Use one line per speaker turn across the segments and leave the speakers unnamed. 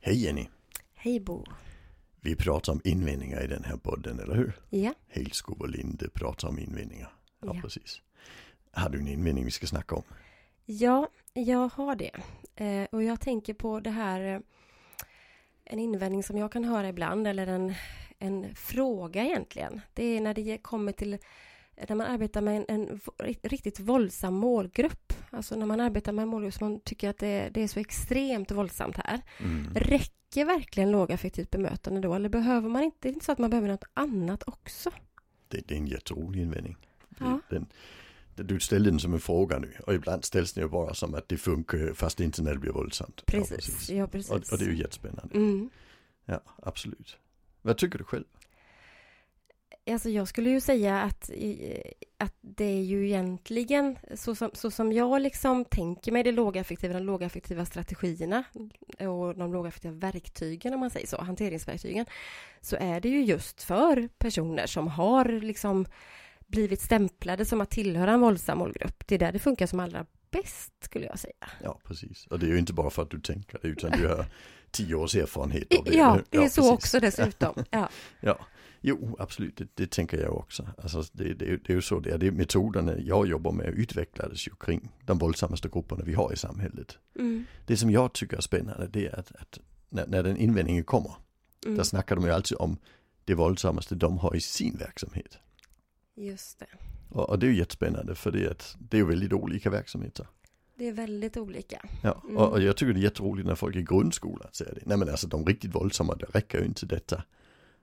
Hej Jenny!
Hej Bo.
Vi pratar om invändningar i den här podden, eller hur?
Ja,
Helskog och Linde pratar om invändningar. Ja,
Ja.
precis. Har du en invändning vi ska snacka om?
ja jag har det. Eh, och jag tänker på det här. Eh, en invändning som jag kan höra ibland eller en, en fråga egentligen. Det är när det ge- kommer till när man arbetar med en, en v- riktigt våldsam målgrupp. Alltså när man arbetar med en målgrupp som man tycker att det, det är så extremt våldsamt här.
Mm.
Räcker verkligen lågaffektivt typ bemötande då? Eller behöver man inte, det är inte så att man behöver något annat också?
Det, det är en jätterolig invändning. Det-
Ja.
Den, det- du ställde den som en fråga nu och ibland ställs den ju bara som att det funkar fast inte när det blir våldsamt. Ja,
Precis, ja precis.
Och, och det är ju jättespännande.
mm.
Ja, absolut. Vad tycker du själv?
Alltså jag skulle ju säga att, i- att det är ju egentligen så som, så som jag liksom tänker mig det lågaffektiva, de lågaffektiva strategierna och de lågaffektiva verktygen om man säger så, hanteringsverktygen, så är det ju just för personer som har liksom blivit stämplade som att tillhöra en våldsam målgrupp. Det är där det funkar som allra bäst skulle jag säga.
Ja, precis. Och det är ju inte bara för att du tänker det utan du har tio års erfarenhet av det. eller
ja,
hur?
det är så
precis.
också dessutom. Ja,
Ja, jo absolut, det, det tänker jag också. Alltså, det, det, är ju- det är ju så det är. Det är metoderna jag jobbar med utvecklades ju kring de våldsammaste grupperna vi har i samhället.
mm,
Det som jag tycker är spännande det är att, att när, när den invändningen kommer, där
mm,
snackar de ju alltid om det våldsammaste de har i sin verksamhet.
just det.
Och, och det är ju jättespännande för det är, att, det är ju väldigt olika verksamheter.
Det är väldigt olika.
Ja,
Mm.
och, och jag tycker det är jätteroligt när folk i grundskolan säger det. Nej men alltså de riktigt våldsamma, det räcker ju inte detta.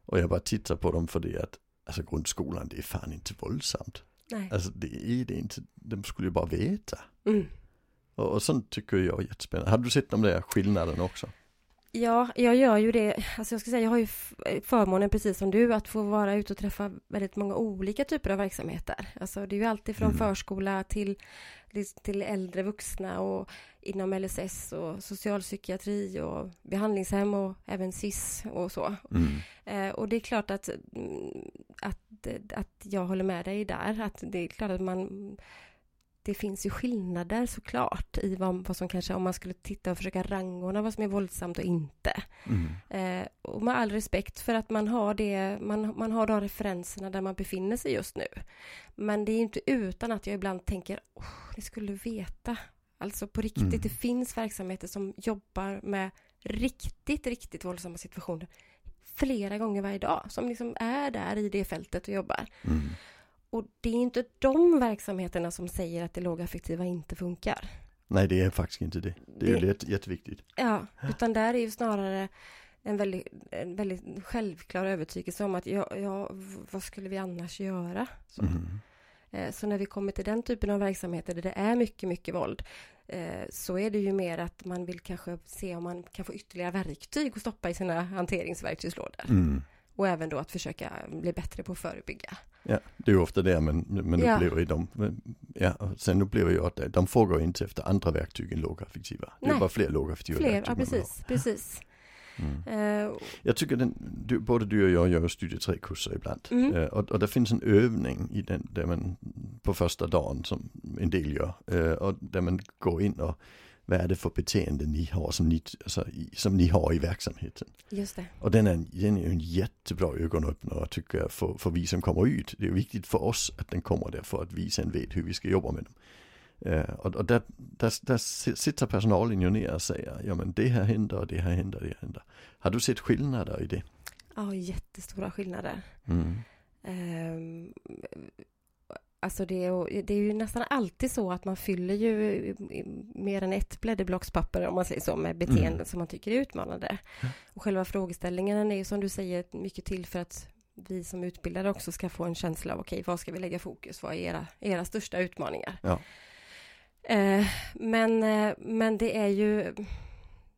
Och jag bara tittar på dem för det att alltså grundskolan det är fan inte våldsamt.
Nej.
Alltså det är det inte, de skulle ju bara veta.
Mm.
Och, och sånt tycker jag är jättespännande. Har du sett de där skillnaden också?
Ja, jag gör ju det. Alltså jag ska säga, jag har ju f- förmånen precis som du att få vara ute och träffa väldigt många olika typer av verksamheter. Alltså det är ju alltid från
Mm.
förskola till, till äldre vuxna och inom LSS och socialpsykiatri och behandlingshem och även SIS och så.
Mm.
Eh, och det är klart att, mm, att, att jag håller med dig där. Att det är klart att man... Det finns ju skillnader såklart i vad, vad som kanske, om man skulle titta och försöka rangordna vad som är våldsamt och inte.
Mm.
Eh, och med all respekt för att man har, det, man, man har de referenserna där man befinner sig just nu. Men det är ju inte utan att jag ibland tänker, åh, ni skulle veta. Alltså på riktigt,
Mm.
det finns verksamheter som jobbar med riktigt, riktigt våldsamma situationer flera gånger varje dag, som liksom är där i det fältet och jobbar.
Mm.
Och det är inte de verksamheterna som säger att det lågaffektiva inte funkar.
Nej det är faktiskt inte det. Det är
Det-
ju jätte- jätteviktigt.
Ja, utan där är ju snarare en väldigt, en väldigt självklar övertygelse om att ja, ja, v- vad skulle vi annars göra? Så,
Mm.
eh, så när vi kommer till den typen av verksamheter där det är mycket, mycket våld eh, så är det ju mer att man vill kanske se om man kan få ytterligare verktyg att stoppa i sina hanteringsverktygslådor.
Mm.
Och även då att försöka bli bättre på att förebygga.
Ja, det är ju ofta det men, men
Ja.
upplever ju de, ja, och sen upplever jag att de frågar inte efter andra verktyg än lågaffektiva. Det är
Nej.
bara fler lågaffektiva
Fler,
verktyg
ja
man vill ha.
precis, precis.
Mm.
Eh,
Jag tycker den, du, både du och jag gör ju studie 3-kurser ibland.
Mm.
Eh, och, och det finns en övning i den där man på första dagen som en del gör. Eh, och där man går in och vad är det för beteende ni har som ni, alltså, i, som ni har i verksamheten.
just det.
Och den är, en, den är ju en jättebra ögonöppnare tycker jag för, för vi som kommer ut. Det är ju viktigt för oss att den kommer där för att vi sen vet hur vi ska jobba med dem. Eh, och och där, där, där sitter personalen ju ner och säger, ja men det här händer och det här händer och det här händer. Har du sett skillnader i det?
Ja, jättestora skillnader.
Mm.
Ehm, Alltså det är, det är ju nästan alltid så att man fyller ju mer än ett blädderblockspapper om man säger så med beteenden
Mm.
som man tycker är utmanande.
Ja.
Och själva frågeställningen är ju som du säger mycket till för att vi som utbildare också ska få en känsla av okej, vad ska vi lägga fokus på? Vad är era, era största utmaningar?
Ja.
Eh, men, eh, men det är ju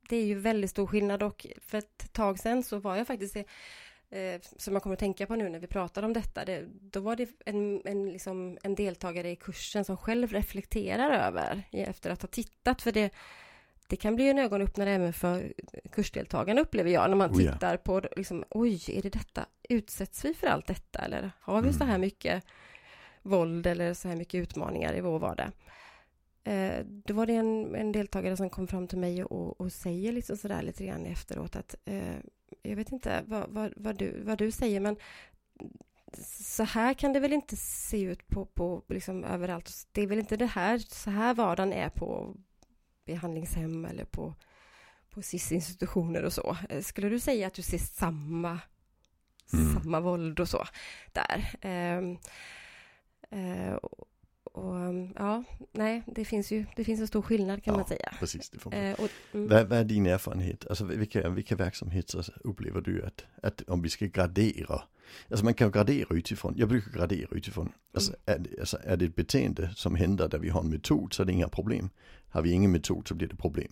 det är ju väldigt stor skillnad och för ett tag sedan så var jag faktiskt i- eh, som jag kommer att tänka på nu när vi pratar om detta, det, då var det en, en, liksom, en deltagare i kursen som själv reflekterar över i- efter att ha tittat, för det, det kan bli en ögonöppnare även för kursdeltagarna upplever jag, när man
Oh ja.
tittar på, liksom, oj, är det detta, utsätts vi för allt detta, eller har vi så här
Mm.
mycket våld eller så här mycket utmaningar i vår vardag? Eh, då var det en, en deltagare som kom fram till mig och, och säger liksom sådär lite grann efteråt att eh, jag vet inte vad, vad, vad, du, vad du säger men så här kan det väl inte se ut på, på liksom överallt. Det är väl inte det här, så här vardagen är på behandlingshem eller på, på SIS-institutioner och så. Eh, skulle du säga att du ser samma,
Mm.
samma våld och så där? Ehm, eh, och, och, ehm, ja, nej, det finns ju, det finns en stor skillnad kan
Ja.
man säga.
Precis, det får man
Eh, och, mm,
Vad, vad är din erfarenhet? Alltså vilka, vilka verksamheter upplever du att, att om vi ska gradera? Alltså man kan ju gradera utifrån, jag brukar gradera utifrån. Alltså, är, det- alltså är det ett beteende som händer där vi har en metod så är det inga problem. Har vi ingen metod så blir det problem.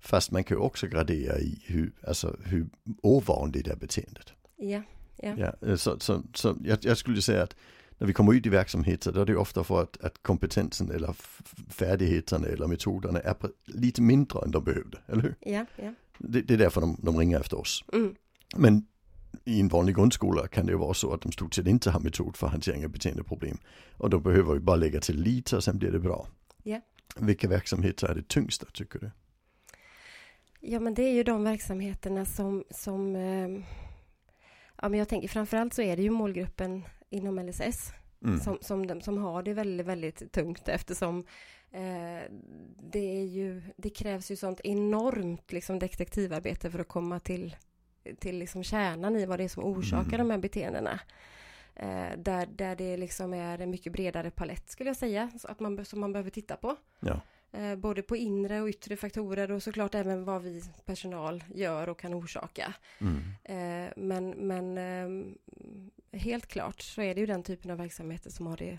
Fast man kan ju också gradera i hur, alltså hur ovanligt är beteendet.
ja,
Ja, eh, så, så, så jag, jag skulle säga att när vi kommer ut i verksamheter då är det ju ofta för att, att kompetensen eller f- färdigheterna eller metoderna är på- lite mindre än de behövde, eller hur?
ja, ja.
Det, det är därför de, de ringer efter oss.
Mm,
Men i en vanlig grundskola kan det ju vara så att de stort sett inte har metod för hantering av beteendeproblem. Och då behöver vi bara lägga till lite och sen blir det bra.
Ja.
Vilka verksamheter är det tyngsta tycker du?
Ja, men det är ju de verksamheterna som... som ehm, ja, men jag tänker framförallt så är det ju målgruppen inom LSS
Mm.
som, som, de, som har det väldigt, väldigt tungt eftersom eh, det, är ju, det krävs ju sånt enormt liksom, detektivarbete för att komma till, till liksom, kärnan i vad det är som orsakar
Mm.
de här beteendena. Eh, där, där det liksom är en mycket bredare palett skulle jag säga, så att man, be- som man behöver titta på.
Ja.
Eh, både på inre och yttre faktorer och såklart även vad vi personal gör och kan orsaka.
Mm.
Eh, men men ehm, helt klart så är det ju den typen av verksamheter som har det.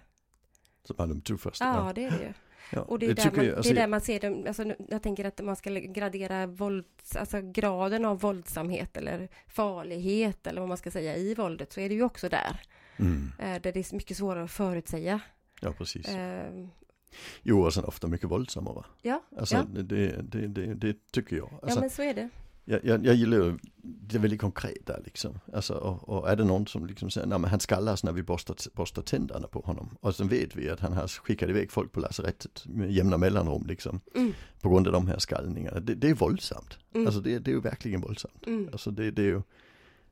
Som är de tuffast.
Ja, det är det ju.
Ja.
Och Ah, det är, där
tycker
man,
jag, alltså,
det är där man ser dem. Alltså, nu- jag tänker att man ska gradera våld, alltså graden av våldsamhet eller farlighet eller vad man ska säga i våldet så är det ju också där.
Mm.
Eh, där det är mycket svårare att förutsäga.
Ja, precis.
Eh,
Jo, och sen ofta mycket våldsammare. va?
ja,
Alltså,
Ja.
det, det, det, det tycker jag. Alltså,
ja, men så är det.
Jag, jag, jag gillar ju det väldigt konkreta liksom. Alltså, och, och är det någon som liksom säger, nej men han skallas när vi borstar, borstar tänderna på honom. Och sen vet vi att han har skickat iväg folk på lasarettet med jämna mellanrum liksom.
Mm,
På grund av de här skallningarna. Det, det är våldsamt.
Mm.
Alltså det, det är ju verkligen våldsamt.
mm,
Alltså det, det är ju,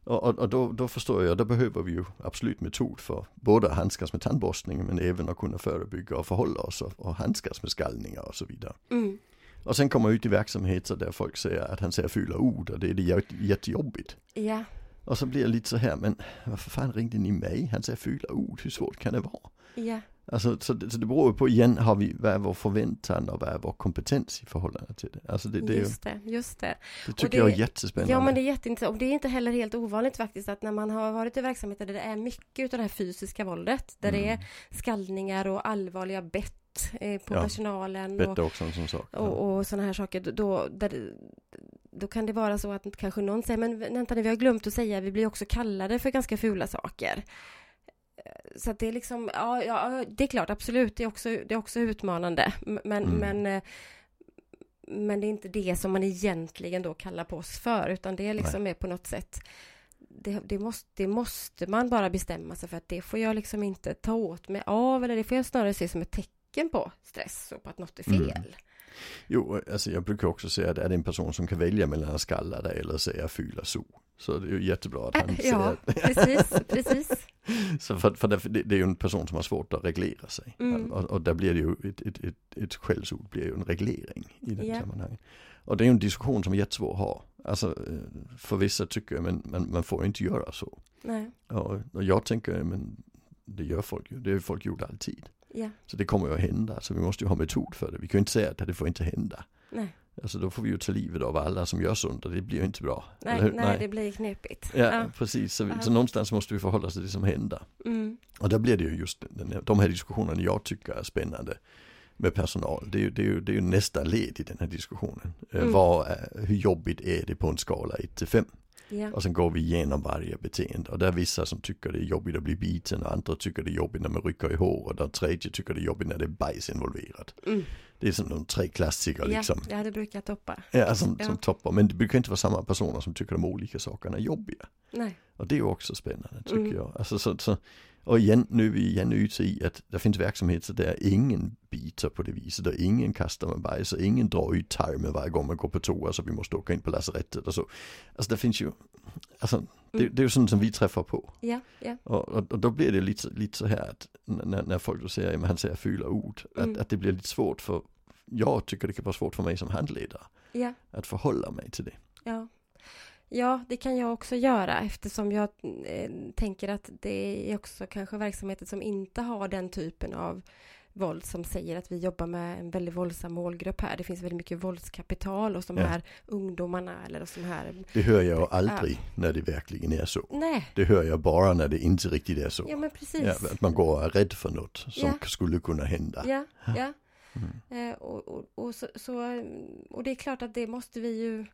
och, och, och då, då förstår jag, då behöver vi ju absolut metod för både att handskas med tandborstning men även att kunna förebygga och förhålla oss och, och handskas med skallningar och så vidare.
mm,
Och sen kommer jag ut i verksamheter där folk säger att han säger fula ord och det är det jätte- jättejobbigt.
ja,
Och så blir jag lite så här, men varför fan ringde ni mig? Han säger fula ord, hur svårt kan det vara?
ja,
Alltså, så, det, så det beror ju på igen, har vi, vad är vår förväntan och vad är vår kompetens i förhållande till det? Alltså det, det, är ju-
just det, just det.
det tycker
det-
jag är jättespännande.
Ja, men det är jätteintressant. Och det är inte heller helt ovanligt faktiskt att när man har varit i verksamheter där det är mycket av det här fysiska våldet, där
Mm.
det är skallningar och allvarliga bett eh, på
Ja.
personalen och,
Bättre också en sån sak.
och, och sådana här saker, då- då, där, då kan det vara så att kanske någon säger, men vänta nu, vi har glömt att säga, vi blir också kallade för ganska fula saker. Eh, Så att det är liksom, ja, ja det är klart, absolut, det är också, det är också utmanande, M- men,
Mm.
men eh, men det är inte det som man egentligen då kallar på oss för, utan det liksom är på något sätt det, det, måste, det måste man bara bestämma sig för att det får jag liksom inte ta åt mig av eller det får jag snarare se som ett tecken på stress och på att något är
Mm.
fel.
Jo, alltså jag brukar också säga att är det en person som kan välja mellan att skalla dig eller säga fula so. Så det är ju jättebra att han
Äh,
säger
Ja, precis, precis.
Så för, för det, det det är ju en person som har svårt att reglera sig.
Mm.
Och, och där blir det ju, ett, ett, ett, ett skällsord blir ju en reglering i den
Ja.
sammanhanget. Och det är ju en diskussion som är jättesvår att ha. Alltså eh, för vissa tycker jag, men man, man får ju inte göra så.
Nej,
Och, och jag tänker, men det gör folk ju, det har ju folk gjort alltid.
ja,
Så det kommer ju att hända, så vi måste ju ha metod för det. Vi kan ju inte säga att det får inte hända.
nej,
Alltså då får vi ju ta livet av alla som gör sånt och det blir ju inte bra.
nej,
Eller hur?
nej, det blir knepigt.
Ja, precis. Så, vi,
Ja.
så någonstans måste vi förhålla oss till det som händer.
Mm,
Och där blir det ju just den, här- de här diskussionerna jag tycker är spännande med personal. Det är ju, det är ju, det är ju nästa led i den här diskussionen. Eh,
Mm.
Vad är, hur jobbigt är det på en skala 1 till 5?
ja,
Och sen går vi igenom varje beteende. Och där är vissa som tycker det är jobbigt att bli biten och andra tycker det är jobbigt när man rycker i håret och tredje tycker det är jobbigt när det är bajs involverat.
mm,
Det är som de tre klassiker liksom.
Ja, ja, det brukar toppa.
Ja, som,
Ja.
som toppar. Men det brukar inte vara samma personer som tycker de olika sakerna är jobbiga.
Nej.
Och det är ju också spännande tycker
Mm.
jag. Alltså, så, så, och igen, nu är vi igen ute i att det finns verksamheter där ingen biter på det viset och ingen kastar med bajs och ingen drar ut tarmen varje gång man går på toa så vi måste åka in på lasarettet och så. Alltså det finns ju, alltså det,
Mm.
det är ju sånt som vi träffar på.
Ja, ja.
Och, och, och då blir det lite, lite så här att n- när, när folk då säger, men han säger fula ord,
Mm.
att, att det blir lite svårt för, jag tycker det kan vara svårt för mig som handledare
ja.
att förhålla mig till det.
Ja. ja, det kan jag också göra eftersom jag eh, tänker att det är också kanske verksamheter som inte har den typen av våld som säger att vi jobbar med en väldigt våldsam målgrupp här. Det finns väldigt mycket våldskapital hos de
Ja.
här ungdomarna eller hos de här...
Det hör jag ju aldrig när det verkligen är så.
Nej,
Det hör jag bara när det inte riktigt är så.
ja men precis.
Ja, att man går och är rädd för något som
Ja.
skulle kunna hända.
Ja, ja.
Mm.
Eh, och, och, och, så, så, mm, och det är klart att det måste vi ju...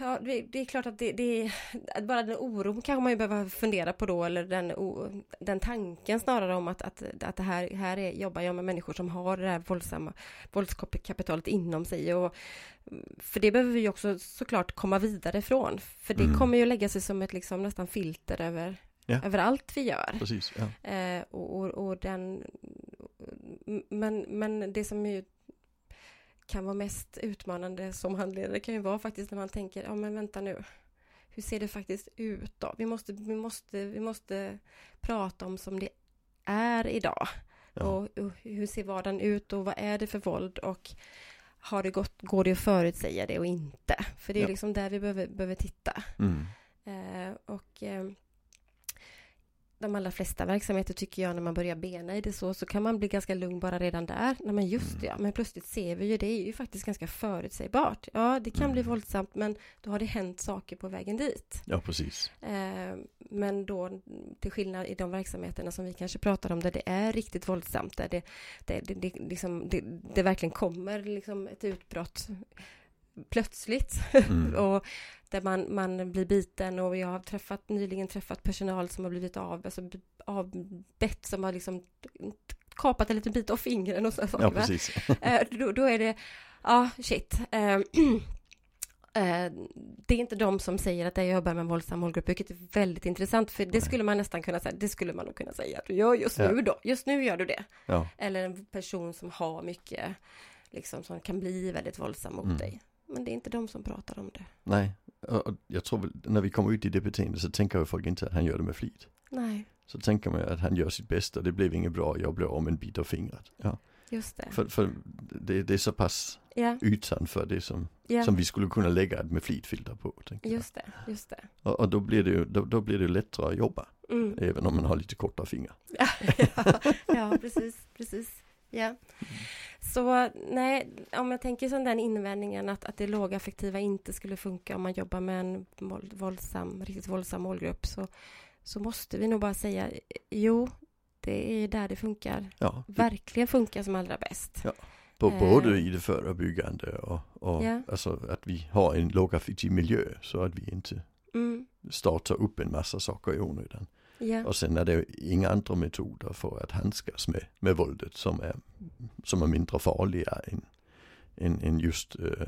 Ja, det, det är klart att det, det att bara den oron kanske man ju behöver fundera på då, eller den, o- den tanken snarare om att, att, att det här, här är, jobbar jag med människor som har det här våldsamma våldskapitalet inom sig. Och, för det behöver vi ju också såklart komma vidare ifrån, för det
Mm.
kommer ju lägga sig som ett liksom nästan filter över,
Ja.
över allt vi gör.
Precis, ja.
Eh, och, och, och den, men, men det som ju kan vara mest utmanande som handledare kan ju vara faktiskt när man tänker, ja men vänta nu, hur ser det faktiskt ut då? Vi måste, vi måste, vi måste prata om som det är idag.
Ja.
Och, och hur ser vardagen ut och vad är det för våld och har det gått, går det att förutsäga det och inte? För det är
Ja.
liksom där vi behöver, behöver titta.
Mm.
Eh, och eh, de allra flesta verksamheter tycker jag när man börjar bena i det så, så kan man bli ganska lugn bara redan där. Nej men just det, ja, men plötsligt ser vi ju, det är ju faktiskt ganska förutsägbart. Ja, det kan bli
Mm.
våldsamt men då har det hänt saker på vägen dit.
ja, precis.
Eh, men då, till skillnad i de verksamheterna som vi kanske pratar om, där det är riktigt våldsamt, där det, det, det, det, liksom, det, det verkligen kommer liksom ett utbrott plötsligt.
Mm.
Och där man, man blir biten och jag har träffat, nyligen träffat personal som har blivit av, alltså b- avbett som har liksom t- t- kapat en liten bit av fingren och sådana saker.
Ja,
va?
precis.
Eh, då, då är det, ja shit. Eh, eh, det är inte de som säger att jag jobbar med en våldsam målgrupp, vilket är väldigt intressant, för det
Nej.
skulle man nästan kunna säga, det skulle man nog kunna säga att du gör just
Ja.
nu då, just nu gör du det.
Ja.
Eller en person som har mycket, liksom som kan bli väldigt våldsam mot
Mm.
dig. Men det är inte de som pratar om det.
Nej, och och jag tror väl när vi kommer ut i det beteendet så tänker ju folk inte att han gör det med flit.
Nej,
Så tänker man ju att han gör sitt bästa, det blev inget bra, jag blev om en bit av fingret. Ja.
just det.
För, för det, det är så pass
Ja,
utanför det som,
ja.
som vi skulle kunna lägga ett med flitfilter på. tänker jag.
just det, just det.
Och, och då, blir det ju, då, då blir det ju lättare att jobba,
Mm.
även om man har lite kortare fingrar.
Ja, ja, precis, precis. Ja. Så nej, om jag tänker som den invändningen att, att det lågaffektiva inte skulle funka om man jobbar med en våld- våldsam, riktigt våldsam målgrupp så, så måste vi nog bara säga jo, det är där det funkar.
Ja,
Verkligen funkar som allra bäst.
På
Eh.
både i det förebyggande och, och
Ja.
alltså att vi har en lågaffektiv miljö så att vi inte
Mm.
startar upp en massa saker i onödan.
Ja,
Och sen är det inga andra metoder för att handskas med, med våldet som är, som är mindre farliga än, än, än just eh,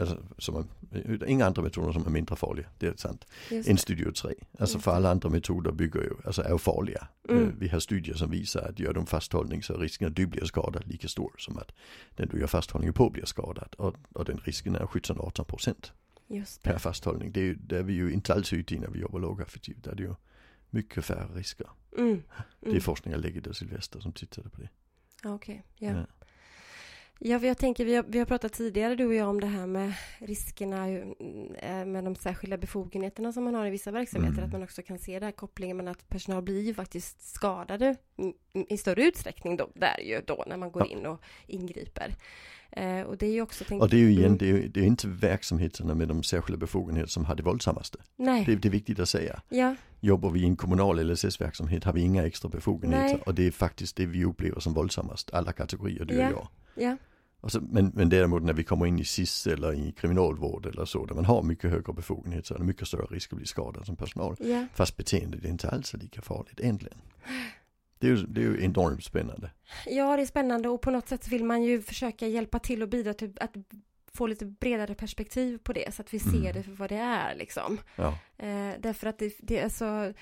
Alltså, som är, inga andra metoder som är mindre farliga, det är sant.
just
En
det.
studie 3. Alltså
Just
för
det.
alla andra metoder bygger ju, alltså är ju farliga.
Mm.
Eh, Vi har studier som visar att gör du en fasthållning så är risken att du blir skadad lika stor som att den du gör fasthållningen på blir skadad. Och, och den risken är 17-18 procent
Just
per
det.
fasthållning. Det är ju, där är vi ju inte alls ute i när vi jobbar lågaffektivt. Där är det ju mycket färre risker.
Mm. Mm.
Det är forskningen Lägget och Silvester som tittade på det.
Ja, Okej, ja.
Ja.
Ja, för jag tänker, vi har, vi har pratat tidigare du och jag om det här med riskerna ju, mm, eh, med de särskilda befogenheterna som man har i vissa verksamheter,
Mm.
att man också kan se den här kopplingen men att personal blir ju faktiskt skadade mm, i större utsträckning då, där ju då när man går
Ja.
in och ingriper. Eh, och det är ju också, tänk,
Och det är ju igen,
Mm.
det är, ju- det är inte verksamheterna med de särskilda befogenheter som har det våldsammaste.
nej,
Det, är- det är viktigt att säga.
ja,
Jobbar vi i en kommunal LSS-verksamhet har vi inga extra befogenheter
Nej.
och det är faktiskt det vi upplever som våldsammast, alla kategorier du
Ja.
och jag.
ja,
Och så, men, men däremot när vi kommer in i SIS eller i kriminalvård eller så, där man har mycket högre befogenheter så är det mycket större risk att bli skadad som personal.
ja,
Fast beteendet är inte alls lika farligt egentligen. Det är, ju, det är ju enormt spännande.
Ja, det är spännande och på något sätt vill man ju försöka hjälpa till och bidra till att få lite bredare perspektiv på det så att vi ser
Mm.
det för vad det är liksom.
Ja.
Eh, därför att det, det är så,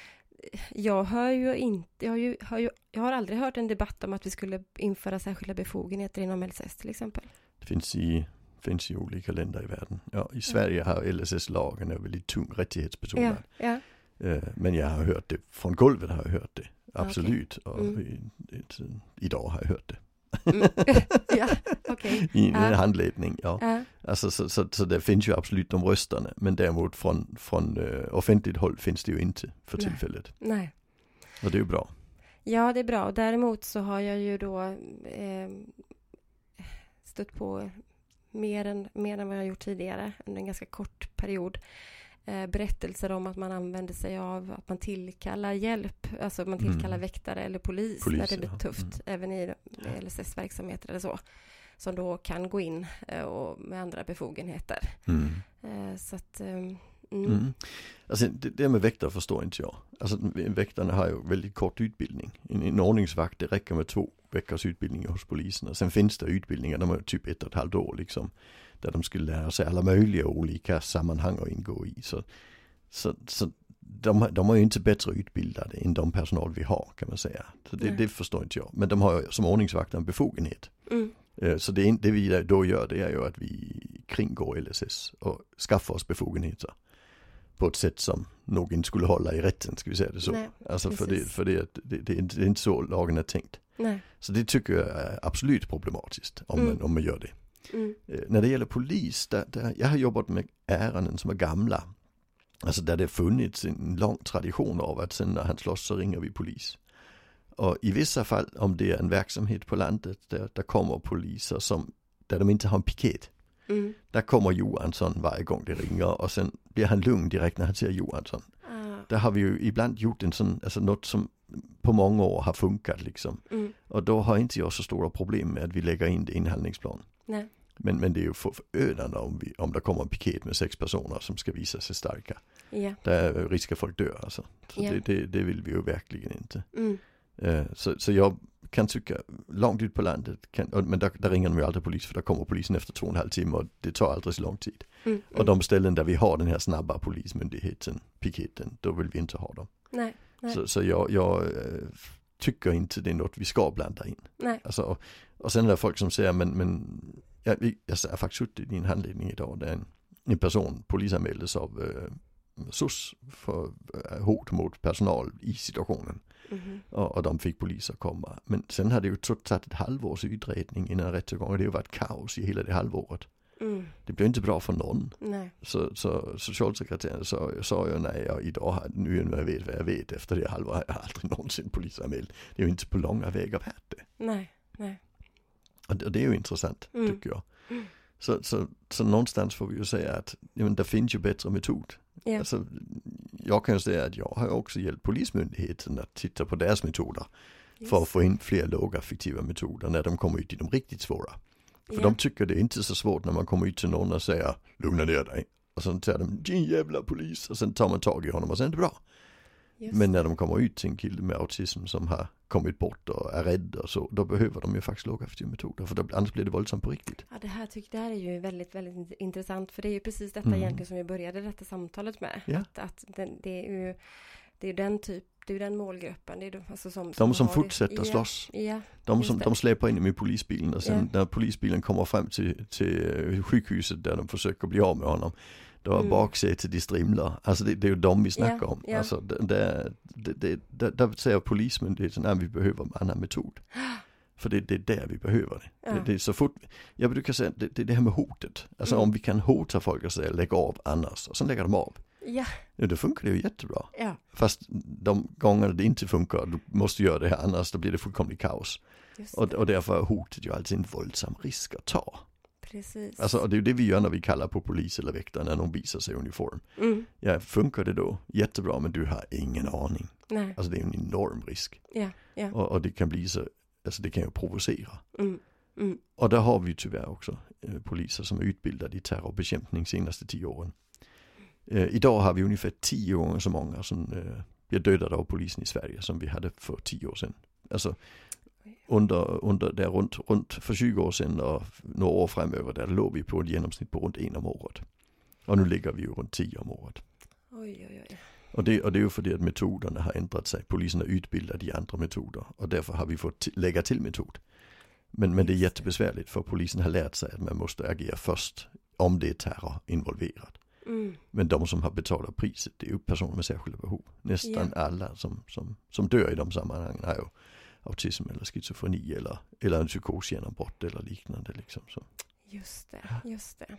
jag hör ju inte, jag har, ju, har ju, jag har aldrig hört en debatt om att vi skulle införa särskilda befogenheter inom LSS till exempel.
Det finns i, finns i olika länder i världen. Ja, I Sverige har LSS-lagen är väldigt tung rättighetsbetonad.
ja.
Eh, Men jag har hört det, från golvet har jag hört det. Absolut. Och
Mm.
i, ett, idag har jag hört det.
Mm. ja, okej.
I en
Ja.
handledning. Ja.
Ja,
Alltså, så, så, så det finns ju absolut de rösterna. Men däremot från, från eh, offentligt håll finns det ju inte för
Nej.
tillfället.
nej.
Och det är ju bra.
Ja, det är bra. Och Däremot så har jag ju då eh, stött på mer än, mer än vad jag gjort tidigare under en ganska kort period. Eh, berättelser om att man använder sig av att man tillkallar hjälp, alltså man
Mm.
tillkallar väktare eller polis,
Polis,
när det blir
ja. Mm.
tufft, även i eh, LSS-verksamheter eller så, som då kan gå in eh, och med andra befogenheter.
Mm.
Eh, så att, eh, mm, mm.
Mm. Alltså det, det med väktare förstår inte jag. Alltså väktarna har ju väldigt kort utbildning. En, en ordningsvakt, det räcker med två veckors utbildning hos polisen. Och sen finns det utbildningar, de har ju typ ett och ett halvt år liksom. Där de skulle lära sig alla möjliga olika sammanhang att ingå i. Så, så, så de, har- de är ju inte bättre utbildade än de personal vi har kan man säga. Så det,
Nej.
det förstår inte jag. Men de har ju som ordningsvakter en befogenhet.
Mm.
Eh, Så det, är in- det vi då gör det är ju att vi kringgår LSS och skaffar oss befogenheter på ett sätt som nog inte skulle hålla i rätten, ska vi säga det så.
Nej,
alltså för, det,
precis.
för det, det, det, är inte, det är inte så lagen är tänkt.
nej.
Så det tycker jag är absolut problematiskt om,
Mm.
man, om man gör det.
Mm.
Eh, När det gäller polis, där, där, jag har jobbat med ärenden som är gamla. Alltså där det funnits en lång tradition av att sen när han slåss så ringer vi polis. Och i vissa fall, om det är en verksamhet på landet, där, där kommer poliser som, där de inte har en piket.
Mm.
Där kommer Johansson varje gång det ringer och sen blir han lugn direkt när han ser Johansson.
Ah,
Där har vi ju ibland gjort en sån, alltså något som på många år har funkat liksom.
mm.
Och då har inte jag så stora problem med att vi lägger in det i en handlingsplan.
Nej.
Men, men det är ju för- förödande om, vi, om det kommer en piket med sex personer som ska visa sig starka.
Ja.
Där är risk att folk dör alltså. Så
Ja.
det, det, det vill vi ju verkligen inte.
Mm.
Eh, Så, så jag kan tycka, långt ut på landet, kan, och- men där, där ringer de ju aldrig polis för där kommer polisen efter två och en halv timme och det tar aldrig så lång tid.
Mm.
Och de ställen där vi har den här snabba polismyndigheten, piketen, då vill vi inte ha dem.
mm. Nej, Nej.
Så, så jag, jag eh, tycker inte det är något vi ska blanda in.
nej.
Alltså, och, och sen är det folk som säger, men, men jag, jag har faktiskt suttit i en handledning idag där en, en person polisanmäldes av eh, SOS för eh, hot mot personal i situationen.
Mhm.
Och, och de fick poliser komma. Men sen har det ju totalt tagit ett halvårs utredning innan rättegången. Det har ju varit kaos i hela det halvåret.
Mm.
Det blev inte bra för någon.
Nej.
Så, så socialsekreteraren sa, sa ju nej, jag idag har nu när jag vet vad jag vet efter det halvåret har jag aldrig någonsin polisanmält. Det är ju inte på långa vägar värt det.
Nej. Nej.
Och det, och det är ju intressant
Mm.
tycker jag.
Mm.
Så, så, så någonstans får vi ju säga att ja, men det finns ju bättre metod.
Ja.
Alltså, jag kan ju säga att jag har ju också hjälpt Polismyndigheten att titta på deras metoder för att få in fler låga fiktiva metoder när de kommer ut i de riktigt svåra. För
Ja.
de tycker det är inte så svårt när man kommer ut till någon och säger lugna ner dig. Och sen säger de din jävla polis och sen tar man tag i honom och sen är det bra.
Just.
Men när de kommer ut till en kille med autism som har kommit bort och är rädd och så, då behöver de ju faktiskt lågaffektiva metoder för då, annars blir det våldsamt på riktigt.
Ja, det, här tycker, det här är ju väldigt, väldigt int- intressant. För det är ju precis detta
Mm.
egentligen som vi började detta samtalet med.
Ja.
Att, att den, det är ju det är ju den typ, det är ju den målgruppen. Det är de, alltså som,
De som
har det-
fortsätter
ja,
slåss,
Ja,
de
just
som
det.
de släpar in dem i polisbilen och sen när polisbilen kommer fram till, till eh, sjukhuset där de försöker bli av med honom, då är
Mm.
baksätet i strimlar. Alltså det, det är ju dem vi snackar om.
ja.
Alltså det, det, det, det, där- där säger polismyndigheten att vi behöver en annan metod. För det, det är där vi behöver det.
ja.
Det, det är så fort, jag brukar säga det, det, är det här med hotet. Alltså
Mm.
om vi kan hota folk och säga lägg av annars och sen lägger de av.
ja,
Ja, då funkar det ju jättebra.
ja,
Fast de gånger det inte funkar, du måste göra det här annars då blir det fullkomligt kaos.
just
Och,
det.
och därför är hotet ju alltid en våldsam risk att ta.
Precis.
Alltså och det är ju det vi gör när vi kallar på polis eller väktare när de visar sig i uniform.
mm.
Ja, funkar det då? Jättebra, men du har ingen aning.
Nej,
Alltså det är ju en enorm risk.
ja, ja.
Och, och det kan bli så, alltså det kan ju provocera.
Mm. Mm.
Och där har vi ju tyvärr också eh, poliser som är utbildade i terrorbekämpning de senaste tio åren. Eh, idag har vi ungefär tio gånger så många som eh, blir dödade av polisen i Sverige som vi hade för tio år sedan. Alltså, under, under där runt, runt för 20 år sedan och några år framöver där låg vi på ett genomsnitt på runt en om året. Och nu ligger vi ju runt 10 om året.
Oj, oj, oj.
Och det, och det är ju för det att metoderna har ändrat sig. Polisen har utbildat i andra metoder och därför har vi fått t- lägga till metod. Men, men det är jättebesvärligt för polisen har lärt sig att man måste agera först om det är terror involverat.
Mm.
Men de som har betalat priset det är ju personer med särskilda behov. Nästan alla som, som, som dör i de sammanhangen har ju autism eller schizofreni eller, eller en psykosgenombrott eller liknande. Liksom. Så.
Just det, just det.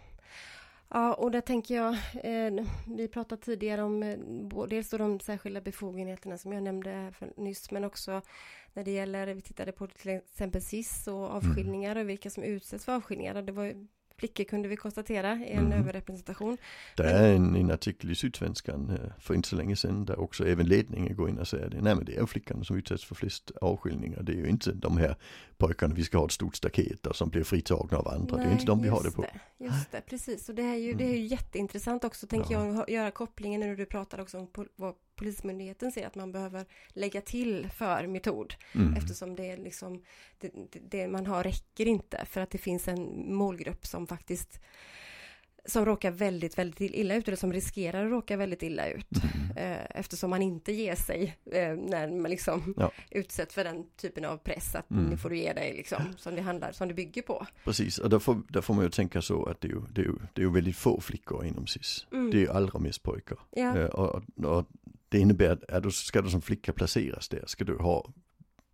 Ja, och där tänker jag, eh, vi pratade tidigare om eh, bo- dels då de särskilda befogenheterna som jag nämnde här för, nyss, men också när det gäller, vi tittade på till exempel SIS
Mm.
och avskiljningar och vilka som utsätts för avskiljningar. Och Det var ju, flickor kunde vi konstatera i en
Mhm.
överrepresentation.
Det är en, en artikel i Sydsvenskan eh, för inte så länge sedan där också även ledningen går in och säger det. Nej men det är ju flickorna som utsätts för flest avskiljningar. Det är ju inte de här pojkarna vi ska ha ett stort staket och som blir fritagna av andra. det är ju inte de vi har
just
det på. Mm.
just det, precis. Och det är ju, det är ju jätteintressant också, tänker
Ja.
jag, att göra kopplingen när du pratar också om pol- vad Polismyndigheten ser att man behöver lägga till för metod.
Mm.
Eftersom det är liksom det, det, det man har räcker inte för att det finns en målgrupp som faktiskt som råkar väldigt, väldigt illa ut eller som riskerar att råka väldigt illa ut.
Mm-hmm.
Eh, Eftersom man inte ger sig eh, när man liksom
Ja.
utsätts för den typen av press att
Mm.
nu får du ge dig liksom som det handlar, som det bygger på.
Precis, och där får, där får man ju tänka så att det är ju, det är ju, det är ju väldigt få flickor inom SIS.
Mm.
Det är ju allra mest pojkar.
Ja.
Eh, Och, och det innebär att är du, ska du som flicka placeras där ska du ha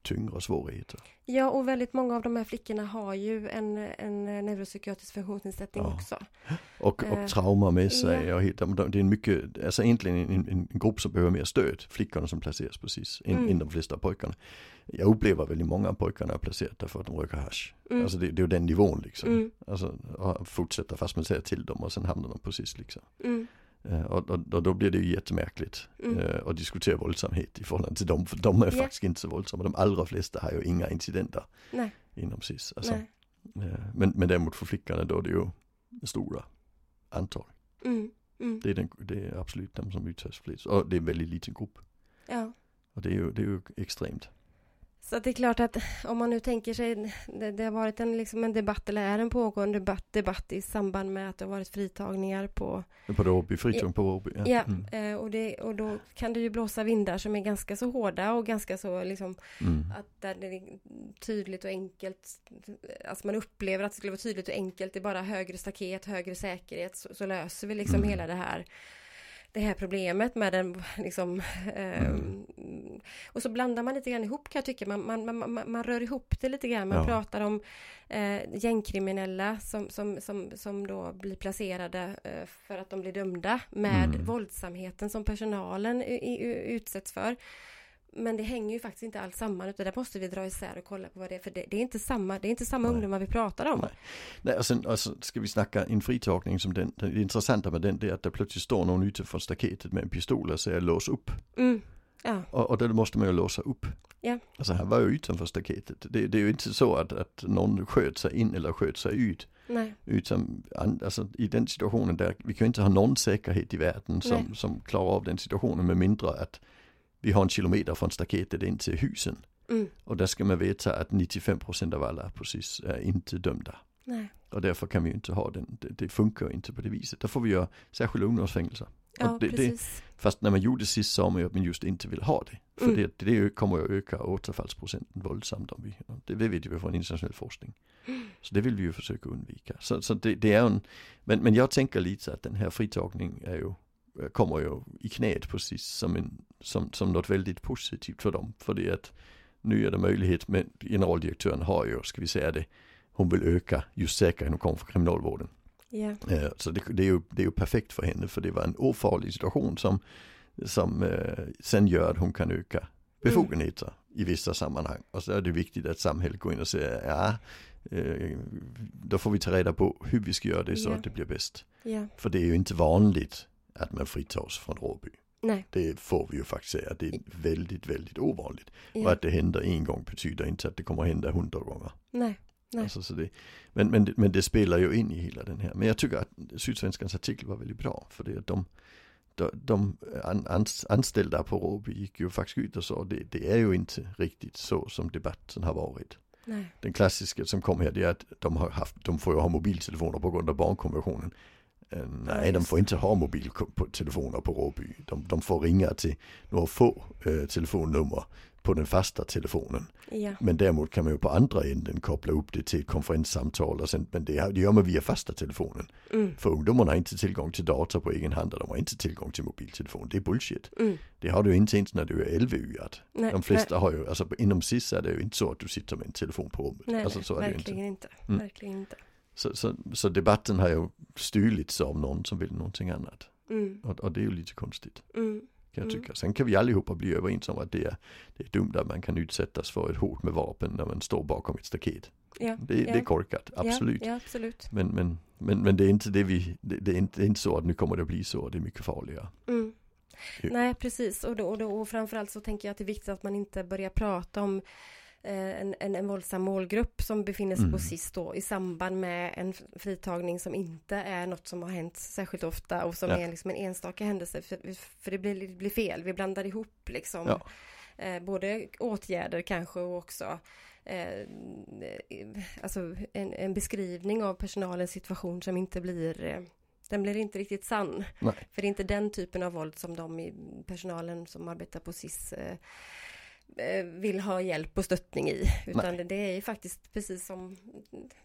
tyngre svårigheter.
Ja, och väldigt många av de här flickorna har ju en, en neuropsykiatrisk funktionsnedsättning
Ja.
också.
Och, och
Eh,
trauma med sig. Och helt, de- de- det är en mycket, alltså egentligen en, en, en grupp som behöver mer stöd. Flickorna som placeras precis, än,
Mm.
än de flesta pojkarna. Jag upplever väldigt många av pojkarna är placerade därför att de röker hasch.
Mm.
Alltså det, det är ju den nivån liksom.
Mm,
Alltså och fortsätter fast man säger till dem och sen hamnar de precis liksom.
mm,
Eh, Och, och, och då blir det ju jättemärkligt
Mm.
eh, att diskutera våldsamhet i förhållande till dem. För de är
Ja.
faktiskt inte så våldsamma. De allra flesta har ju inga incidenter
nej,
inom SIS. Alltså,
nej.
eh, men, men däremot för flickorna då är det ju stora antal.
Mm, mm,
Det är, den, det är absolut de som utsätts flest. Och det är en väldigt liten grupp.
ja.
Och det är ju, det är ju extremt.
Så att det är klart att om man nu tänker sig, det, det har varit en, liksom en debatt, eller är en pågående debatt, debatt i samband med att det har varit fritagningar på,
På Råby, Fritjung på Råby. Ja.
ja,
Mm.
eh, och, det, och då kan det ju blåsa vindar som är ganska så hårda och ganska så liksom,
Mm.
att där det är tydligt och enkelt, alltså man upplever att det skulle vara tydligt och enkelt, det är bara högre staket, högre säkerhet, så, så löser vi liksom
Mm.
hela det här det här problemet med den liksom eh,
Mm.
Och så blandar man lite grann ihop kan jag tycka, man, man, man, man, man rör ihop det lite grann, man
Ja.
pratar om eh, gängkriminella som, som, som, som då blir placerade eh, för att de blir dömda med
Mm.
våldsamheten som personalen i, i, utsätts för. Men det hänger ju faktiskt inte alls samman utan där måste vi dra isär och kolla på vad det är för det, det är inte samma, det är inte samma
Nej.
ungdomar vi pratar om.
Nej. Nej, och sen och så ska vi snacka en fritagning som den, den det intressanta med den det är att det plötsligt står någon utifrån staketet med en pistol och säger lås upp.
Mm. Ja,
Och, och då måste man ju låsa upp.
Ja.
Alltså han var ju utanför staketet. Det, det är ju inte så att, att någon sköt sig in eller sköt sig ut.
nej,
Utan an- alltså, i den situationen där, vi kan ju inte ha någon säkerhet i världen som,
Nej.
som klarar av den situationen med mindre att vi har en kilometer från staketet in till husen.
mm.
Och där ska man veta att 95% av alla precis är inte dömda.
nej.
Och därför kan vi ju inte ha den, det, det funkar ju inte på det viset. Där får vi göra särskilda ungdomsfängelser.
Ja,
Och det- det-
precis.
Fast när man gjorde det sist sa man ju att man just inte vill ha det. För
Mm.
det, det ö- kommer ju att öka återfallsprocenten våldsamt om vi, och det vet vi ju från internationell forskning. Så det vill vi ju försöka undvika. Så, så det, det är ju en, men, men jag tänker lite att den här fritagning är ju, kommer ju i knät precis som, en, som, som något väldigt positivt för dem. För det att nu är det möjlighet, men generaldirektören har ju, ska vi säga det, hon vill öka just säkerheten hon kommer från kriminalvården.
Ja,
Eh, Så det, det, är ju, det är ju perfekt för henne för det var en ofarlig situation som, som eh, sen gör att hon kan öka befogenheter
Mm.
i vissa sammanhang. Och så är det viktigt att samhället går in och säger ja, eh, då får vi ta reda på hur vi ska göra det så
Ja.
att det blir bäst.
ja,
För det är ju inte vanligt att man fritas från Råby.
nej.
Det får vi ju faktiskt säga, det är väldigt, väldigt ovanligt. Och
Ja,
att det händer en gång betyder inte att det kommer att hända hundra gånger.
nej. Nej.
Alltså, så det, men, men, men det spelar ju in i hela den här. Men jag tycker att Sydsvenskans artikel var väldigt bra. För det att de, de anställda på Råby gick ju faktiskt ut och sa det, det är ju inte riktigt så som debatten har varit.
Nej.
Den klassiska som kom här det är att de, har haft, de får ju ha mobiltelefoner på grund av barnkonventionen. Eh, Nej, de får inte ha mobiltelefoner på Råby. De, de får ringa till några få eh, telefonnummer på den fasta telefonen.
Ja.
Men däremot kan man ju på andra änden koppla upp det till ett konferenssamtal och sen, men det, det gör man via fasta telefonen.
Mm.
För ungdomarna har inte tillgång till data på egen hand och de har inte tillgång till mobiltelefon. Det är bullshit.
Mm.
Det har du ju inte ens när du är LVU-ad.
Nej,
De flesta har ju, alltså inom SIS är det ju inte så att du sitter med en telefon på rummet.
nej,
alltså
nej,
så är det ju inte.
verkligen inte.
Mm.
Verkligen inte.
Så, så, så debatten har ju styrlits av någon som vill någonting annat.
Mm.
Och, och det är ju lite konstigt
Mm.
kan jag
Mm.
tycka. Sen kan vi allihopa bli överens om att det är, det är dumt att man kan utsättas för ett hot med vapen när man står bakom ett staket.
Ja.
Det,
ja.
det är korkat, absolut.
Ja, ja absolut.
Men, men, men, men det är inte det vi, det, det, är inte, det är inte så att nu kommer det att bli så och det är mycket farligare.
Mm.
Ja.
Nej, precis. Och, då, och, då, och framförallt så tänker jag att det är viktigt att man inte börjar prata om eh, en, en, en våldsam målgrupp som befinner sig
Mm.
på SIS då i samband med en f- fritagning som inte är något som har hänt särskilt ofta och som
Ja.
är liksom en enstaka händelse för, för det, blir, det blir fel, vi blandar ihop liksom
Ja.
eh, både åtgärder kanske och också eh, alltså en, en beskrivning av personalens situation som inte blir eh, den blir inte riktigt sann.
Nej.
För det är inte den typen av våld som de i personalen som arbetar på SIS eh, eh, vill ha hjälp och stöttning i. Utan det är ju faktiskt precis som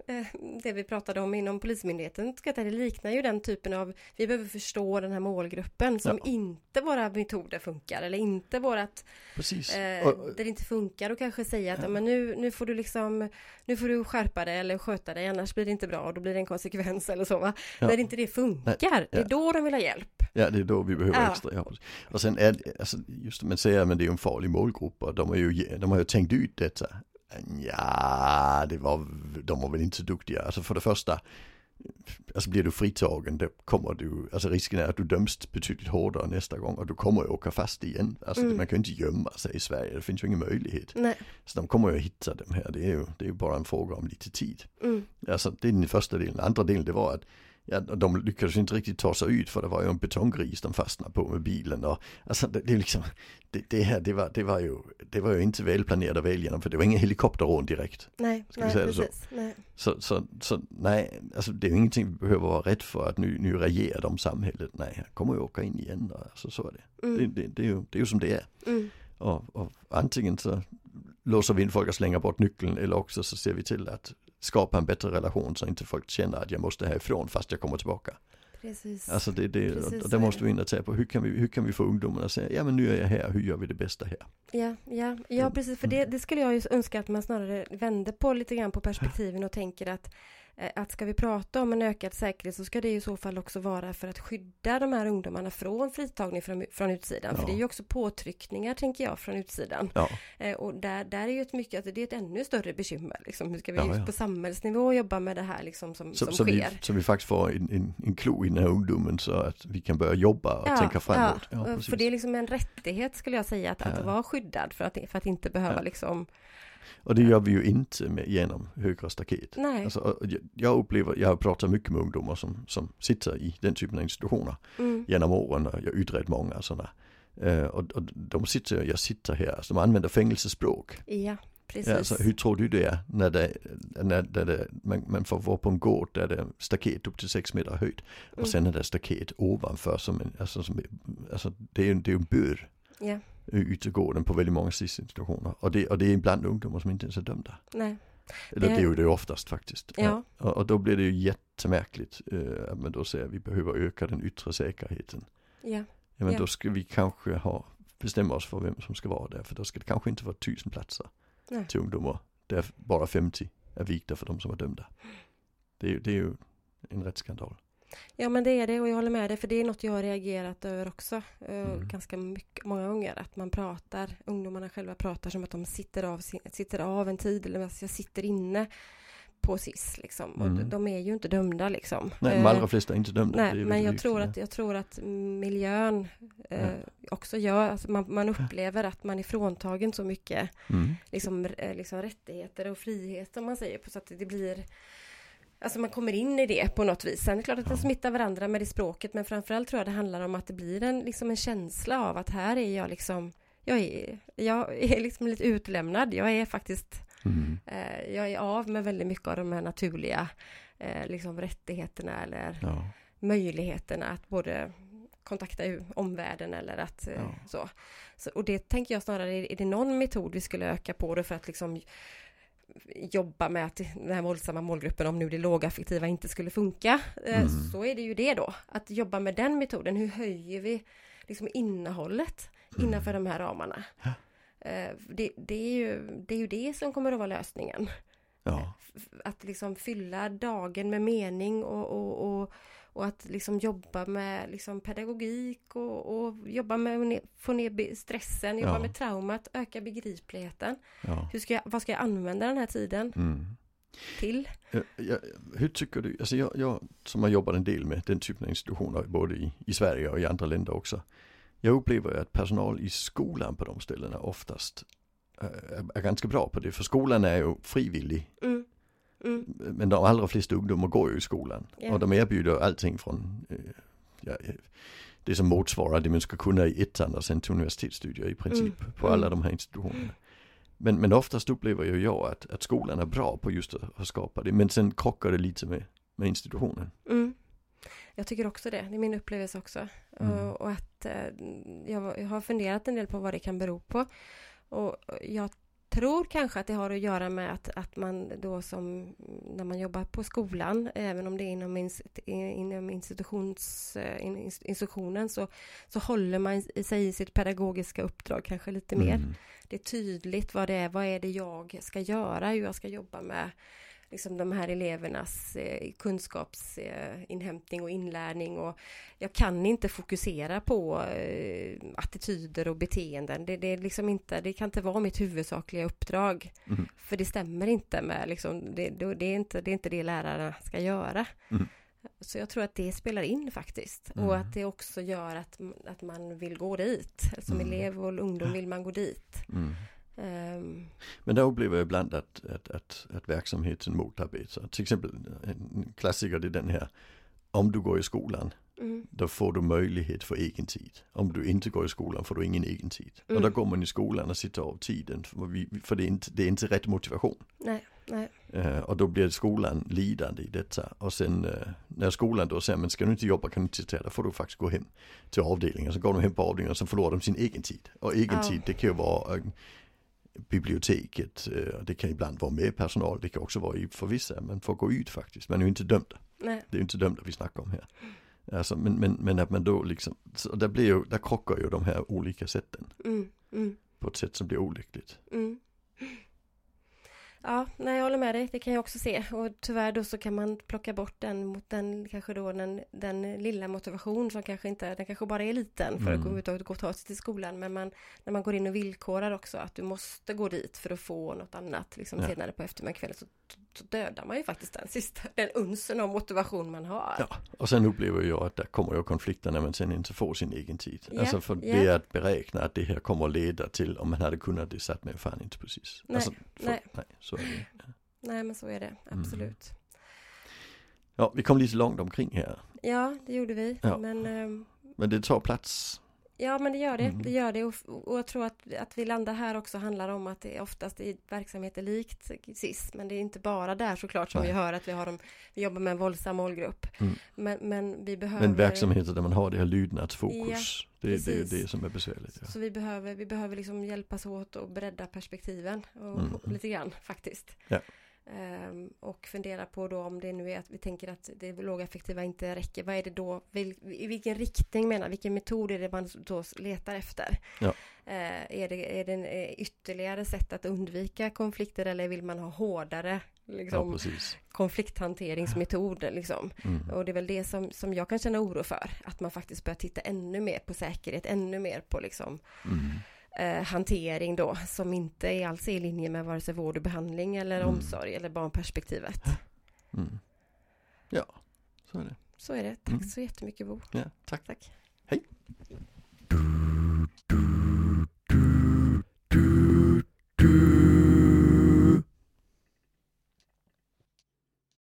eh, det vi pratade om inom Polismyndigheten. ska jag säga, Det liknar ju den typen av, vi behöver förstå den här målgruppen som
Ja.
inte våra metoder funkar eller inte vårat
Precis.
Eh,
Och- och-
där det inte funkar och kanske säga att
Ja.
"Ja, men nu, nu får du liksom Nu får du skärpa dig eller sköta dig annars blir det inte bra och då blir det en konsekvens eller så va?
Ja.
När inte det funkar, det
ja.
är då de vill ha hjälp.
Ja, det är då vi behöver
Ja.
extra. Ja. Och sen är det, alltså, just det man säger, men det är ju en farlig målgrupp och de har ju, de har ju tänkt ut detta. Ja, det var, de var väl inte så duktiga. Alltså för det första, alltså blir du fritagen, då kommer du, alltså risken är att du döms betydligt hårdare nästa gång och du kommer ju åka fast igen. Alltså
Mm.
man kan ju inte gömma sig i Sverige, det finns ju ingen möjlighet.
Nej.
Så de kommer ju att hitta dem här, det är ju, det är ju bara en fråga om lite tid.
Mm.
Alltså det är den första delen. Andra delen det var att ja, de lyckades inte riktigt ta sig ut för det var ju en betonggris de fastnade på med bilen. Och, alltså det, det, är liksom, det, det här det var, det, var ju, det var ju inte välplanerat av väljarna för det var ingen helikopterrån direkt.
Nej,
Ska vi
nej
säga det så?
precis. Nej.
Så, så, så nej, alltså det är ju ingenting vi behöver vara rädd för att nu, nu regerar de samhället. Nej, han kommer ju åka in igen. Och, alltså, så är det. Det,
Mm.
det, det, är ju, det är ju som det är.
Mm.
Och, och antingen så låser vi in folk och slänger bort nyckeln eller också så ser vi till att skapa en bättre relation så inte folk känner att jag måste härifrån fast jag kommer tillbaka.
Precis.
Alltså det, det,
Precis,
och
så
där
är
måste
det.
vi in och ta på hur kan vi, hur kan vi få ungdomarna att säga ja men nu är jag här, hur gör vi det bästa här?
Ja, ja, ja
Mm.
precis. För det, det skulle jag ju önska att man snarare vände på lite grann på perspektiven och tänker att, eh, att ska vi prata om en ökad säkerhet så ska det ju i så fall också vara för att skydda de här ungdomarna från fritagning från, från utsidan.
Ja.
För det är ju också påtryckningar, tänker jag, från utsidan.
Ja,
Eh, och där, där är ju ett mycket, alltså, det är ett ännu större bekymmer. Liksom. Hur ska vi
Ja, ja.
på samhällsnivå jobba med det här liksom, som,
så,
som
så, vi,
sker?
så vi faktiskt får en, en, en klo i den här ungdomen så att vi kan börja jobba och tänka framåt. Ja,
eh,
precis.
för det är liksom en rättighet skulle jag säga att,
Ja.
att vara skyddad för att, för att inte behöva
Ja.
liksom,
Och det gör vi ju inte med, genom högre staket.
nej,
Alltså, och jag- jag upplever, jag har pratat mycket med ungdomar som, som sitter i den typen av institutioner.
mm,
genom åren och jag har utrett många sådana. Eh, och, och de sitter, jag sitter här, alltså de använder fängelsespråk.
ja, precis.
Ja, alltså, hur tror du det är när, det, när, när det, man, man får vara på en gård där det är staket upp till sex meter höjd och
Mm.
sen är det staket ovanför som en, alltså, som, alltså det är ju det är ju en bur
Ja.
i yttergården på väldigt många SIS-institutioner. Och det, och det är ibland ungdomar som inte ens är dömda.
Nej,
Eller
Det-
det är ju det oftast faktiskt.
ja,
Och, och då blir det ju jättemärkligt eh, att man då säger att vi behöver öka den yttre säkerheten.
ja,
Ja men
Ja.
då ska vi kanske ha, bestämma oss för vem som ska vara där. För då ska det kanske inte vara tusen platser
Nej.
till ungdomar. Där bara 50 är vigda för de som är dömda. Det är, ju- det är ju en rättsskandal.
ja, men det är det och jag håller med dig för det är något jag har reagerat över också eh,
Mm.
ganska mycket, många gånger att man pratar, ungdomarna själva pratar som att de sitter av, sin- sitter av en tid eller alltså, jag sitter inne på SIS liksom och
Mm.
de- de är ju inte dömda liksom.
Nej, de
Eh,
allra flesta är inte dömda. det är
Nej,
ju
men jag
viktigt,
tror,
ja.
att, jag tror att miljön eh,
Ja.
också gör, alltså man, man upplever att man är fråntagen så mycket
Mm.
liksom, eh, liksom rättigheter och frihet om man säger, på, så att det blir Alltså man kommer in i det på något vis. Sen är det klart att det smittar varandra med det språket, men framförallt tror jag det handlar om att det blir en, liksom en känsla av att här är jag liksom, jag är, jag är liksom lite utlämnad. Jag är faktiskt,
Mm.
eh, jag är av med väldigt mycket av de här naturliga eh, liksom rättigheterna eller
Ja.
möjligheterna att både kontakta u- omvärlden eller att eh,
Ja.
så. så. Och det tänker jag snarare, är är det någon metod vi skulle öka på då för att liksom jobba med att den här våldsamma målgruppen, om nu det lågaffektiva inte skulle funka, eh,
Mm.
så är det ju det då. Att jobba med den metoden, hur höjer vi liksom innehållet
Mm.
innanför de här ramarna? Eh, Det, det, är ju, det är ju det som kommer att vara lösningen
Ja.
att liksom fylla dagen med mening och, och, och, och att liksom jobba med liksom pedagogik och, och jobba med att ne- få ner be- stressen, jobba
Ja.
med traumat, öka begripligheten.
ja.
Hur ska jag, vad ska jag använda den här tiden
Mm.
till?
Jag, jag, Eh, hur tycker du, alltså jag, jag som har jobbat en del med den typen av institutioner både i, i Sverige och i andra länder också. Jag upplever att personal i skolan på de ställena oftast eh, är, är ganska bra på det. För skolan är ju frivillig
Mm. Mm.
men de allra flesta ungdomar går ju i skolan
Ja.
och de erbjuder allting från eh, ja, eh, det som motsvarar det man ska kunna i ettan och sen till universitetsstudier i princip
Mm.
på alla de här institutionerna. Men, men oftast upplever ju jag att, att skolan är bra på just att, att skapa det men sen krockar det lite med, med institutionen.
Mm. Jag tycker också det, det är min upplevelse också.
Mm.
Och, och att eh, jag, var- jag har funderat en del på vad det kan bero på. Och jag tror kanske att det har att göra med att, att man då som när man jobbar på skolan, även om det är inom, ins, inom institutions, eh, in, ins- institutionen så, så håller man i sig i sitt pedagogiska uppdrag kanske lite mer
Mm.
det är tydligt vad det är, vad är det jag ska göra, hur jag ska jobba med liksom de här elevernas eh, kunskapsinhämtning eh, inhämtning och inlärning och jag kan inte fokusera på eh, attityder och beteenden. Det, det, är liksom inte, det kan inte vara mitt huvudsakliga uppdrag.
Mm.
För det stämmer inte med, liksom, det, det, det, är inte, det är inte det lärarna ska göra.
Mm.
Så jag tror att det spelar in faktiskt.
Mm.
Och att det också gör att, att man vill gå dit. Som
Mm.
elev och ungdom vill man gå dit.
Mm.
Ehm,
Men där upplever jag ibland att, att, att, att verksamheten motarbetar. Till exempel en klassiker det är den här om du går i skolan
mm,
då får du möjlighet för egen tid. Om du inte går i skolan får du ingen egen tid.
Mm.
Och då går man i skolan och sitter av tiden för, vi, för det, är inte, det är inte rätt motivation.
nej, nej.
Eh, och då blir skolan lidande i detta. Och sen eh, när skolan då säger men ska du inte jobba kan du inte sitta här, då får du faktiskt gå hem till avdelningen. Så går de hem på avdelningen och så förlorar de sin egen tid. Och egen
Ja.
tid det kan ju vara eh, biblioteket, eh, och det kan ibland vara med personal, det kan också vara i- för vissa, man får gå ut faktiskt, man är ju inte dömd.
nej.
Det är ju inte dömda vi snackar om här. Alltså, men, men, men att man då liksom, så där, blir ju, där krockar ju de här olika sätten
Mm, mm,
på ett sätt som blir olyckligt.
mm. Ja, nej, jag håller med dig. Det kan jag också se. Och tyvärr då så kan man plocka bort den mot den kanske då den, den lilla motivation som kanske inte, den kanske bara är liten för att
Mm.
gå ut och gå och ta sig till skolan. Men man, när man går in och villkorar också att du måste gå dit för att få något annat liksom
Ja.
senare på eftermiddagskvällen så, så dödar man ju faktiskt den sista, den unsen av motivation man har.
Ja. Och sen upplever jag att där kommer ju konflikter när man sen inte får sin egen tid.
Ja,
alltså för
ja.
det är att beräkna att det här kommer att leda till om man hade kunnat det satt man ju fan inte precis.
Nej,
alltså,
nej.
nej, så är det.
Nej, men så är det.
Mm.
Absolut.
Ja, vi kom lite långt omkring här.
Ja, det gjorde vi.
Ja.
Men, ehm,
Men det tar plats.
ja, men det gör det.
Mm.
Det gör det. Och, och jag tror att, att vi landar här också handlar om att det är oftast i verksamheter likt SIS. Men det är inte bara där såklart som
Nej.
vi hör att vi, har de, vi jobbar med en våldsam målgrupp.
Mm.
Men, men vi behöver...
Men verksamheter där man har det här lydnadsfokus. det, det är ju
precis.
det som är besvärligt. Ja.
Så vi behöver, vi behöver liksom hjälpas åt och bredda perspektiven och,
Mm.
och lite grann faktiskt.
Ja.
Ehm, och fundera på då om det nu är att vi tänker att det lågaffektiva inte räcker. Vad är det då? Vil, I vilken riktning menar Vilken metod är det man då letar efter?
Ja.
Eh, är, det, är det en eh, ytterligare sätt att undvika konflikter eller vill man ha hårdare
ja,
liksom,
precis.
konflikthanteringsmetoder? Liksom?
Mm.
Och det är väl det som, som jag kan känna oro för. Att man faktiskt börjar titta ännu mer på säkerhet, ännu mer på liksom,
Mm.
eh, hantering då som inte är alls i linje med vare sig vård och behandling eller
Mm.
omsorg eller barnperspektivet.
Mm. Ja, så är det.
Så är det. Tack
Mm.
så jättemycket Bo.
Ja, tack.
Tack.